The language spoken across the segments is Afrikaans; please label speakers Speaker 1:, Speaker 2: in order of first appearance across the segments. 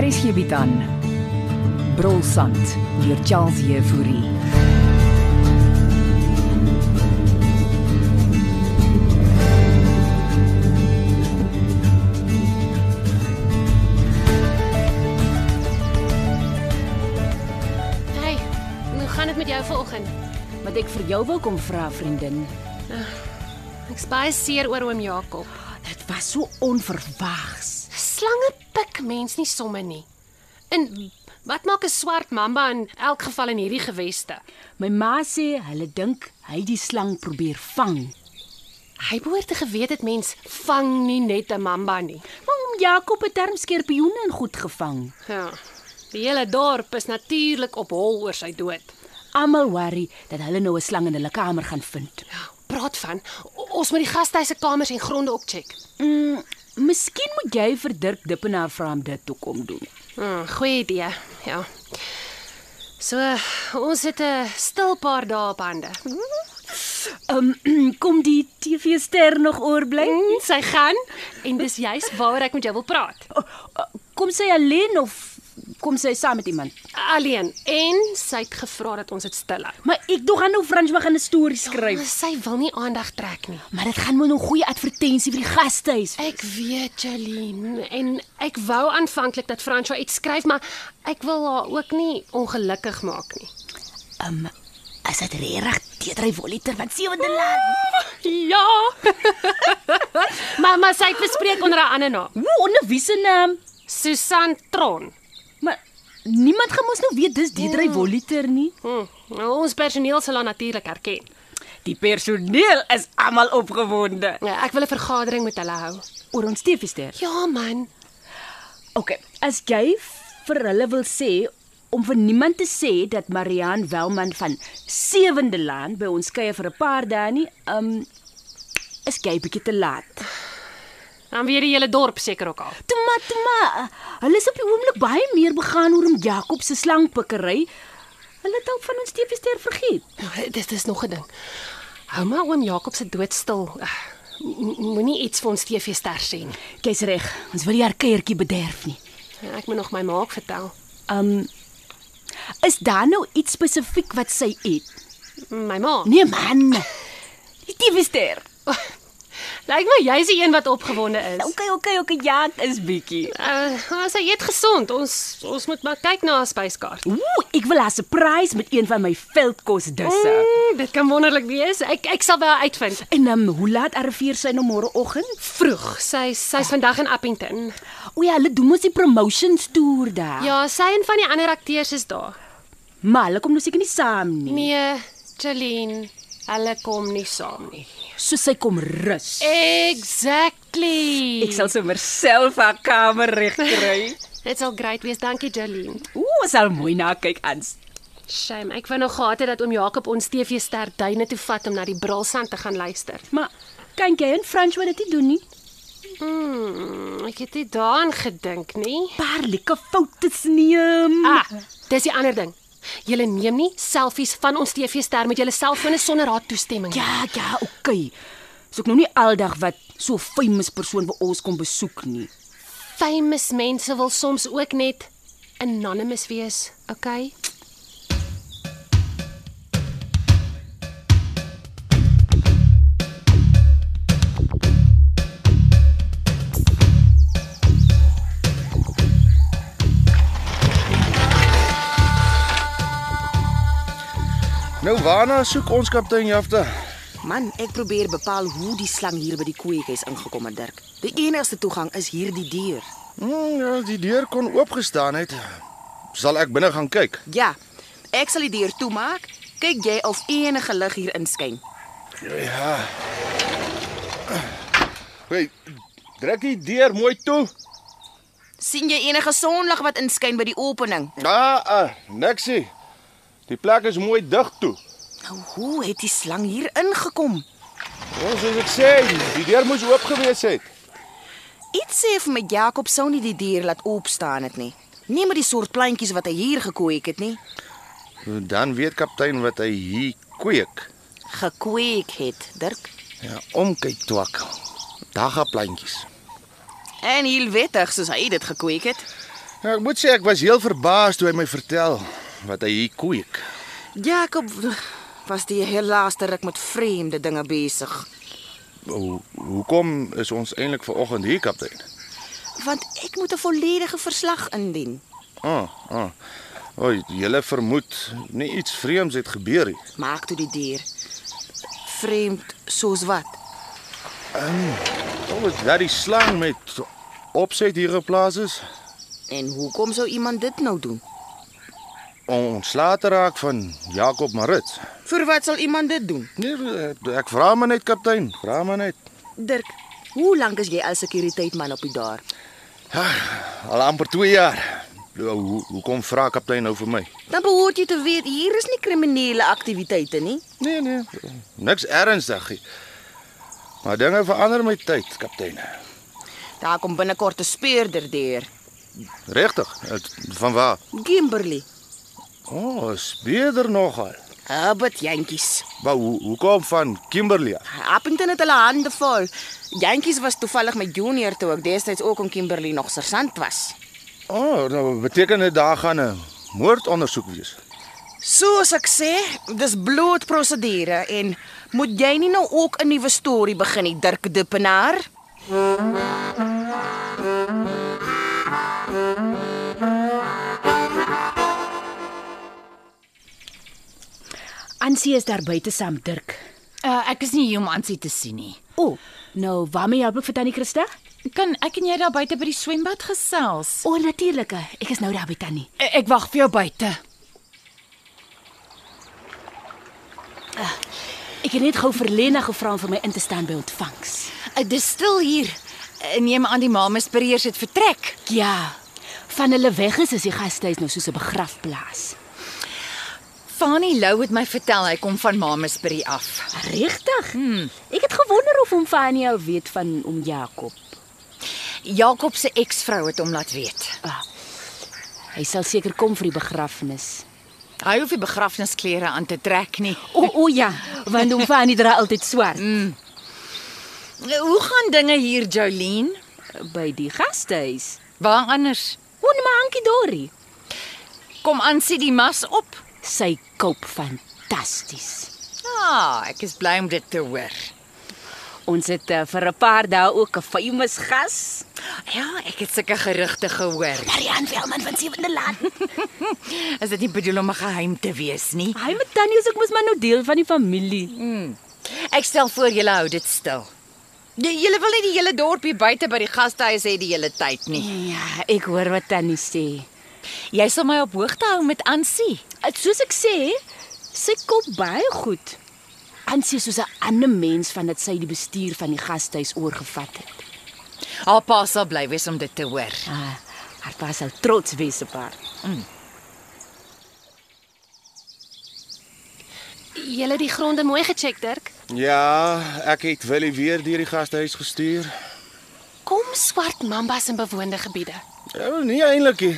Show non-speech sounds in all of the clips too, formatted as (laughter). Speaker 1: Hier is hierby dan. Brolsand deur Charles Euphorie.
Speaker 2: Hey, en hoe gaan dit met jou vanoggend?
Speaker 3: Wat ek vir jou wou kom vra, vriendin.
Speaker 2: Ek's baie seer oor oom Jakob.
Speaker 3: Dit was so onverwags.
Speaker 2: Slange pik mens nie somme nie. En wat maak 'n swart mamba in elk geval in hierdie geweste?
Speaker 3: My ma sê hulle dink hy die slang probeer vang.
Speaker 2: Hy behoort te geweet het mens vang nie net 'n mamba nie.
Speaker 3: Maar om Jakob het term skerpioene in goed gevang.
Speaker 2: Ja. Die hele dorp is natuurlik op hol oor sy dood.
Speaker 3: Almal worry dat hulle nou 'n slang in hulle kamer gaan vind.
Speaker 2: Praat van, o- ons moet die gastehuis se kamers en gronde opcheck.
Speaker 3: Mm, miskien moet jy vir Dirk Dippenaar vra om dit toe kom doen.
Speaker 2: Hmm, goeie idee. Ja. So, ons het 'n stil paar dae op hande.
Speaker 3: Um (clears throat) kom die TV-ster nog oorbly?
Speaker 2: Mm, sy gaan en dis juis waaroor ek met jou wil praat.
Speaker 3: O, o, Kom sy alleen of kom sy saam met iemand?
Speaker 2: Alleen en sy het gevra dat ons dit stil hou. Oh,
Speaker 3: Maar ek dog aan hoe Frans mag 'n storie skryf.
Speaker 2: Sy wil nie aandag trek nie.
Speaker 3: Maar dit gaan moet 'n goeie advertensie vir die gastehuis.
Speaker 2: Ek weet, Jeline, en ek wou aanvanklik dat Franswa iets skryf, maar ek wil haar ook nie ongelukkig maak nie.
Speaker 3: Um, is dit regtig teedryf liter van sewende land?
Speaker 2: Ja. (laughs) maar maar sy het bespreek onder haar ander naam,
Speaker 3: Hoe onder wie se naam?
Speaker 2: Susan Tron.
Speaker 3: Maar niemand gaan mos nou weet dis teedryf liter nie.
Speaker 2: Hm. nou, Ons personeel sal haar natuurlik herken.
Speaker 3: Die personeel is almal opgewonde
Speaker 2: Ja, ek wil 'n vergadering met hulle hou.
Speaker 3: oor ons TV-ster.
Speaker 2: Ja, man.
Speaker 3: Okay, as jy vir hulle wil sê om vir niemand te sê dat Marian Welman van Sewende Land by ons kuier vir 'n paar dae nie, um is jy bietjie te laat.
Speaker 2: Dan weer die hele dorp seker ook al.
Speaker 3: Tma tma. Hulle is op die oomblik baie meer begaan oor om Jakob se slangpikkery. Hulle het al van ons teefester vergeet.
Speaker 2: Nou, Dis dis nog 'n ding. Hou maar oom Jakob se dood stil. Eh, mo- Moenie iets vir ons TV-ster sê nie.
Speaker 3: Jy's reg. Ons wil nie haar kuiertjie bederf nie.
Speaker 2: Ja, Ek moet nog my maak vertel.
Speaker 3: Um Is daar nou iets spesifiek wat sy eet?
Speaker 2: My ma.
Speaker 3: Nee man. Die teefester.
Speaker 2: Lyk my jy's die een wat opgewonde is.
Speaker 3: Okay, okay, okay, ja, dit is bietjie.
Speaker 2: Uh, sy eet gesond. Ons ons moet maar kyk na haar spyskaart.
Speaker 3: Ooh, ek wil haar surprise met een van my veldkosdisse. Mm.
Speaker 2: Mm, dit kan wonderlik wees. Ek ek sal wel uitvind.
Speaker 3: En um, hoe laat arriveer sy nou môreoggend?
Speaker 2: Vroeg. Sy sy's vandag in Appington.
Speaker 3: O ja, hulle doen mos die promotions toer daar. Ja.
Speaker 2: Ja, sy en van die ander akteurs is daar.
Speaker 3: Maar hulle kom nou seker nie saam nie.
Speaker 2: Nee, Jeline, hulle kom nie saam nie.
Speaker 3: So sy kom rus.
Speaker 2: Exactly.
Speaker 3: Ek sal sommer self haar kamer regkry.
Speaker 2: Dit sal great wees. Dankie, Jeline.
Speaker 3: Ooh, ons sal mooi na kyk ans.
Speaker 2: Shame. Ek wou nog gehad het dat oom Jakob ons TV-ster duine toe vat om na die Brulsand te gaan luister.
Speaker 3: Maar kan jy in Frans wat dit nie doen nie?
Speaker 2: Hmm, ek het nie daaraan gedink nie.
Speaker 3: Paar lekker foute sneem.
Speaker 2: Ah, dis die ander ding. Julle neem nie selfies van ons TV-ster met julle selfone sonder haar toestemming nie.
Speaker 3: Ja, ja, okay. Soek nou nie aldag wat so famous persoon by ons kom besoek nie.
Speaker 2: Famous mense wil soms ook net anonymous wees, okay?
Speaker 4: Nou waarna soek ons kaptein Jafta?
Speaker 5: Man, ek probeer bepaal hoe die slang hier by die koeiek is ingekom het, Dirk. Die enigste toegang is hier die deur.
Speaker 4: Hmm, ja, die deur kon oopgestaan het. Sal ek binne gaan kyk?
Speaker 5: Ja. Ek sal die deur toemaak. Kyk jy of enige lig hier inskyn.
Speaker 4: Ja. Hey, druk die deur mooi toe.
Speaker 5: sien jy enige sonlig wat inskyn by die opening?
Speaker 4: Ah, ah niksie. Die plek is mooi dig toe.
Speaker 5: Nou, hoe het die slang hier ingekom?
Speaker 4: Ons soos ek sê, die deur moes oop gewees het.
Speaker 5: Iets sê vir my Jakob sou nie die dier laat opstaan het nie. Nie met die soort plantjies wat hy hier gekweek het nie.
Speaker 4: Dan weet kaptein wat hy hier kweek.
Speaker 5: Gekweek het, Dirk.
Speaker 4: Ja, omkyk twak. Dagga plantjies.
Speaker 5: En heel wettig soos hy dit gekweek het.
Speaker 4: Ja, ek moet sê ek was heel verbaas toe hy my vertel wat hy hier kweek.
Speaker 5: Jakob was die heel laaste ruk met vreemde dinge besig.
Speaker 4: Ho hoekom is ons eintlik ver oggend hier kaptein?
Speaker 5: Want ek moet 'n volledige verslag indien.
Speaker 4: Ah, ah. O, julle vermoed nie iets vreemds het gebeur nie.
Speaker 5: Maak toe die dier. Vreemd soos wat?
Speaker 4: Kom dit dat die slang met opset hier geplaas is
Speaker 5: En hoekom sou iemand dit nou doen?
Speaker 4: om ontslae te raak van Jakob Marits.
Speaker 5: Vir wat sal iemand dit doen?
Speaker 4: Nee, ek vra maar net kaptein, vra maar net.
Speaker 5: Dirk, hoe lank is jy al sekuriteitman op die daar?
Speaker 4: Ja, Al amper 2 jaar. Nou, Hoe hoekom vra kaptein nou vir my?
Speaker 5: Dan behoort jy te weet hier is nie kriminele aktiwiteite nie.
Speaker 4: Nee, nee, niks ernstig nie. Maar dinge verander met tyd, kaptein.
Speaker 5: Daar kom binnekort 'n speurder deur.
Speaker 4: Regtig? Van waar?
Speaker 5: Gimberley.
Speaker 4: O, oh, speeder nogal.
Speaker 5: Hubbard jantjies.
Speaker 4: Maar hoe hoekom van Kimberley? af?
Speaker 5: Appington het hulle hande vol. Jantjies was toevallig my junior toe ek destyds ook in Kimberley nog sersant was.
Speaker 4: O, oh, nou beteken dit daar gaan 'n moordondersoek wees.
Speaker 5: Soos ek sê, dis bloot prosedure en moet jy nie nou ook 'n nuwe storie begin nie, Dirk Dupenaar?
Speaker 3: Ansie is daar buite saam Dirk.
Speaker 6: Uh, ek is nie hier om Ansie te sien nie.
Speaker 3: O, oh, nou waarmee help ek vir tannie Christa?
Speaker 6: Kan ek en jy daar buite by die swembad gesels? Eh,
Speaker 3: O, oh, natuurlik. Ek is nou daar by tannie.
Speaker 6: Ek wag vir jou buite.
Speaker 3: Ek het net gou vir Lena gevra om vir my in te staan by ontvangs.
Speaker 6: Uh, dis stil hier. Uh, neem aan die mames pereers het vertrek.
Speaker 3: Ja. Van hulle weg is is die gastehuis nou soos 'n begrafplaas.
Speaker 6: Fani Lou het my vertel hy kom van mames perie af.
Speaker 3: Regtig? Hmm. Ek het gewonder of hom Fanny al weet van om Jakob.
Speaker 6: Jakob se eksvrou het hom laat weet.
Speaker 3: Hy sal seker kom vir die begrafnis.
Speaker 6: Hy hoef nie begrafnisklere aan te trek nie.
Speaker 3: O oh, o oh, ja, want hom Fanny dra altyd swart mm.
Speaker 6: Uh, Hoe gaan dinge hier, Jolene?
Speaker 3: by die gastehuis.
Speaker 6: Waar anders?
Speaker 3: Oom Mankie Dorie.
Speaker 6: Kom Ansie die mas op.
Speaker 3: Sy koop fantasties.
Speaker 6: Ah, ek is bly om dit te hoor.
Speaker 3: Ons het uh, vir 'n paar dae ook 'n famous gas,
Speaker 6: Ja, ek het sulke gerugte gehoor.
Speaker 3: Marian Velman van Sewende Land.
Speaker 6: Is dit nie bedoel om 'n geheim te wees nie?
Speaker 3: Hy met Tannie is ek mos maar nou deel van die familie.
Speaker 6: Ek stel voor julle hou dit stil. Nee, Julle wil nie die hele dorpie buite by die gastehuis hê die hele tyd nie.
Speaker 3: Ja, ek hoor wat Tannie sê.
Speaker 6: Jy sal my op hoogte hou met Ansie.
Speaker 3: Het Eh, soos ek sê, sy koop baie goed. Ansie is soos 'n ander mens van dat sy die bestuur van die gastehuis oorgevat het.
Speaker 6: Haar pa sal bly wees om dit te hoor.
Speaker 3: Ah, haar pa sou trots wees op haar.
Speaker 2: Jy het die gronde mooi gecheck, Dirk.
Speaker 4: Ja, ek het Willie weer deur die gastehuis gestuur.
Speaker 2: Kom swart mambas in bewoonde gebiede.
Speaker 4: Ja, nie eintlik nie.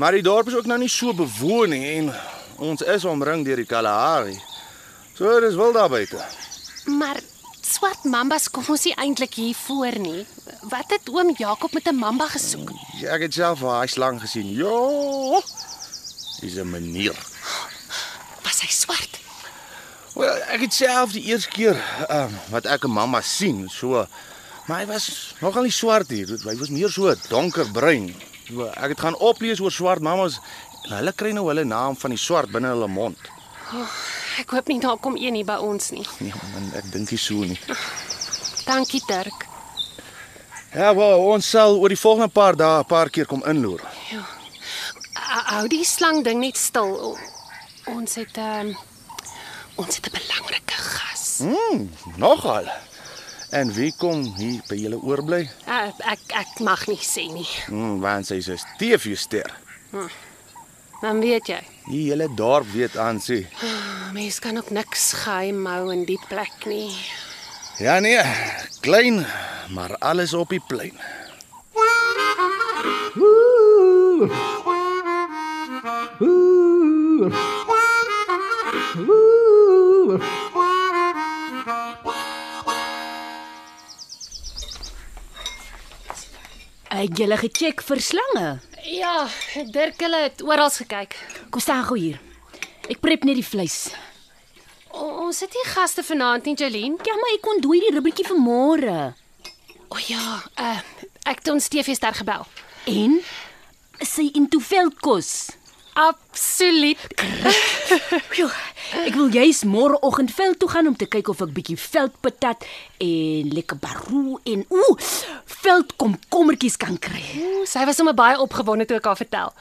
Speaker 4: Maar die dorp is ook nou nie so bewoon nie en ons is omring deur die Kalahari. So dis wil daar buite.
Speaker 2: Maar swart mambas kom ons nie eintlik hier voor nie. Wat het oom Jakob met 'n mamba gesoek?
Speaker 4: Ja, Ek het self vir daai slang gesien. Ja. Dis 'n manier.
Speaker 2: Was hy swart?
Speaker 4: Wel, ek het self die eerste keer um, wat ek 'n mamma sien, so maar hy was nogal nie swart hier. Hy was meer so donkerbruin. So, Ek het gaan oplees oor swart mammas en hulle kry nou hulle naam van die swart binne hulle mond. (laughs)
Speaker 2: Oh, Ek hoop nie daar kom een hier by ons nie.
Speaker 4: Nee man, ek dink nie so nie.
Speaker 2: Dankie, Dirk.
Speaker 4: Ja, wel, ons sal oor die volgende paar dae 'n paar keer kom inloer.
Speaker 2: H- Hou die slang ding net stil. O, ons het 'n um, ons het 'n belangrike gas.
Speaker 4: Mm, nogal. En wie kom hier by julle oorbly?
Speaker 2: Uh, ek ek mag nie sê nie.
Speaker 4: Mm, want sy is 'n TV-ster.
Speaker 2: Dan weet jy.
Speaker 4: Die hele dorp weet aan sy.
Speaker 2: Mense kan ook niks geheim hou in die plek nie.
Speaker 4: Ja nee, klein, maar alles op die plein.
Speaker 3: Ek julle gecheck vir slange.
Speaker 2: Ja, Dirk hulle het oral gekyk.
Speaker 3: Kom staan gou hier. Ek prep net die vleis.
Speaker 2: O, ons het nie gaste vanaand nie, Jolien.
Speaker 3: Ja, maar ek kon dooi die ribbeltjie vir môre.
Speaker 2: O ja, uh, ek het ons TV ster gebel.
Speaker 3: En sy into (laughs) veldkos.
Speaker 2: Absoluut.
Speaker 3: Jo, ek wil jous môreoggend veld toe gaan om te kyk of ek bietjie veldpatat en lekker baroe en ooh, veldkomkommertjies kan kry.
Speaker 2: Sy was sommer baie opgewonde toe ek haar vertel.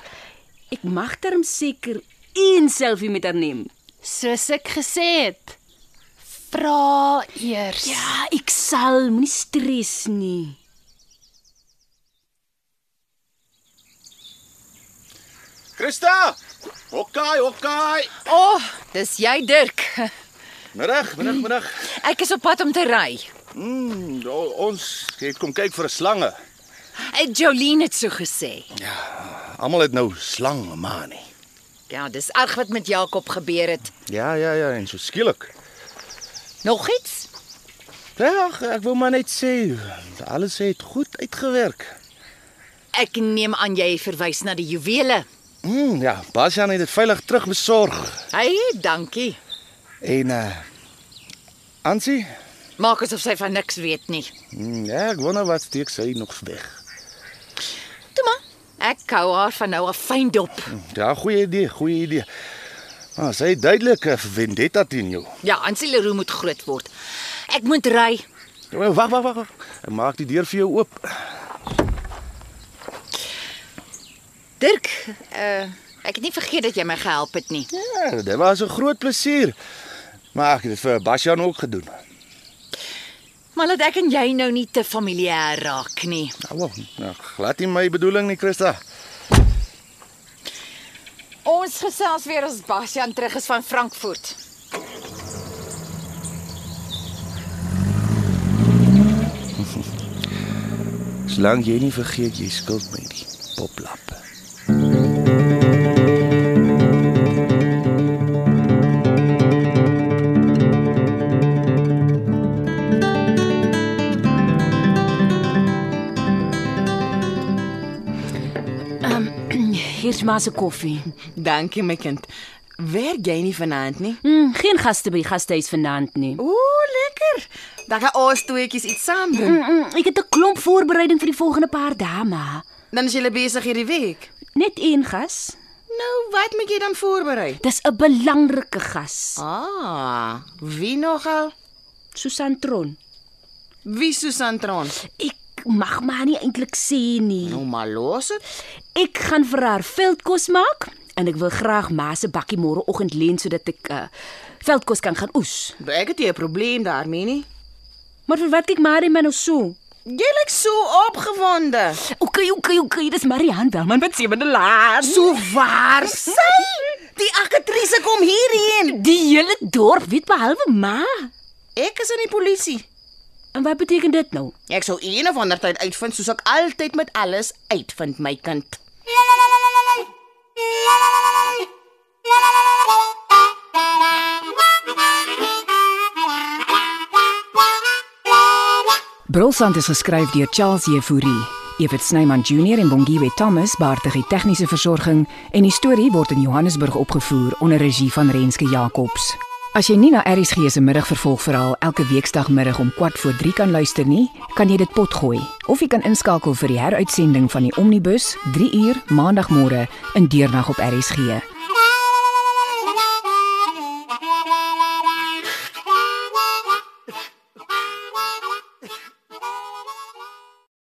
Speaker 3: Ek mag darm seker een selfie met haar neem.
Speaker 2: Soos ek gesê het, vra eers.
Speaker 3: Ja, ek sal, moenie stres nie.
Speaker 4: Christa! Hokkai, hokkai.
Speaker 6: O, oh, dis jy Dirk.
Speaker 4: Middag, middag, middag.
Speaker 6: (laughs) Ek is op pad om te ry.
Speaker 4: Mm, o- ons het kom kyk vir 'n slange.
Speaker 6: Eh, Jolene het so gesê.
Speaker 4: Almal het nou slange manie.
Speaker 6: Ja, dis erg wat met Jakob gebeur het.
Speaker 4: Ja, ja, ja, en so skielik.
Speaker 6: Nog iets?
Speaker 4: Ja, ag, ek wil maar net sê alles het goed uitgewerk.
Speaker 6: Ek neem aan jy verwys na die juwele.
Speaker 4: Mm, ja, Basjan het dit veilig terugbesorg.
Speaker 6: Hey, dankie.
Speaker 4: En uh Ansie?
Speaker 6: Maak asof sy van niks weet nie.
Speaker 4: Mm, ja, ek wonder wat steek sy nog weg.
Speaker 6: Toe maar. Ek hou haar van nou af fyn dop.
Speaker 4: Ja, goeie idee, goeie idee. Maar sy het duidelik 'n vendetta teen jou.
Speaker 6: Ja, Ansie Leroux moet groot word. Ek moet ry.
Speaker 4: Wag, wag, wag, wag. Ek maak die deur vir jou oop.
Speaker 6: Dirk, uh ek het nie vergeet dat jy my gehelp het nie.
Speaker 4: Ja, dit was 'n groot plesier. Maar ek het dit vir Basjan ook gedoen.
Speaker 6: Maar laat ek en jy nou nie te familier raak nie.
Speaker 4: Nou, wel, nou glad nie my bedoeling nie, Christa.
Speaker 6: Ons gesels weer as Bastian terug is van Frankfurt.
Speaker 4: Solank jy nie vergeet jy skuld my nie. Poplap.
Speaker 3: Hier's maar se koffie.
Speaker 5: Dankie my kind. Werk jy nie vanaand nie?
Speaker 3: Mm, geen gaste by die gastehuis vanaand nie.
Speaker 5: Ooh, lekker. Dan gaan ons tweeetjies iets saam doen.
Speaker 3: Mm, mm, ek het 'n klomp voorbereiding vir die volgende paar dae, maar
Speaker 5: Dan is jy besig hierdie week.
Speaker 3: net een gas.
Speaker 5: Nou, wat moet jy dan voorberei?
Speaker 3: Dis 'n belangrike gas.
Speaker 5: Ah, wie nogal?
Speaker 3: Susan Tron.
Speaker 5: Wie Susan Tron?
Speaker 3: Ek mag maar nie eintlik sê nie.
Speaker 5: Nou maar los dit.
Speaker 3: Ek gaan vir haar veldkos maak en ek wil graag ma se bakkie môreoggend leen sodat ek uh, veldkos kan gaan oes.
Speaker 5: Ek het nie 'n probleem daarmee nie.
Speaker 3: Maar vir wat kyk Marie my nou so?
Speaker 5: Jy lyk so opgewonde.
Speaker 3: OK, OK, OK, dis Marihan Welman wat sewende laat.
Speaker 5: So waar sy? Die akatrise kom hierheen.
Speaker 3: Die hele dorp weet behalwe ma.
Speaker 5: Ek is in die polisie.
Speaker 3: En wat beteken dit nou?
Speaker 5: Ek sou een of ander tyd uitvind soos ek altyd met alles uitvind, my kind.
Speaker 1: Brolsand is geskryf deur Charles Jefouri. Evit Snyman Junior en Bongwe Thomas baartig die tegniese versorging en die storie word in Johannesburg opgevoer onder regie van Renske Jacobs. As jy nie na ERG se middagvervolgverhaal elke weekdagmiddag om 14:45 kan luister nie, kan jy dit potgooi of jy kan inskakel vir die heruitsending van die Omnibus 3 uur maandagmôre in deernag op ERG.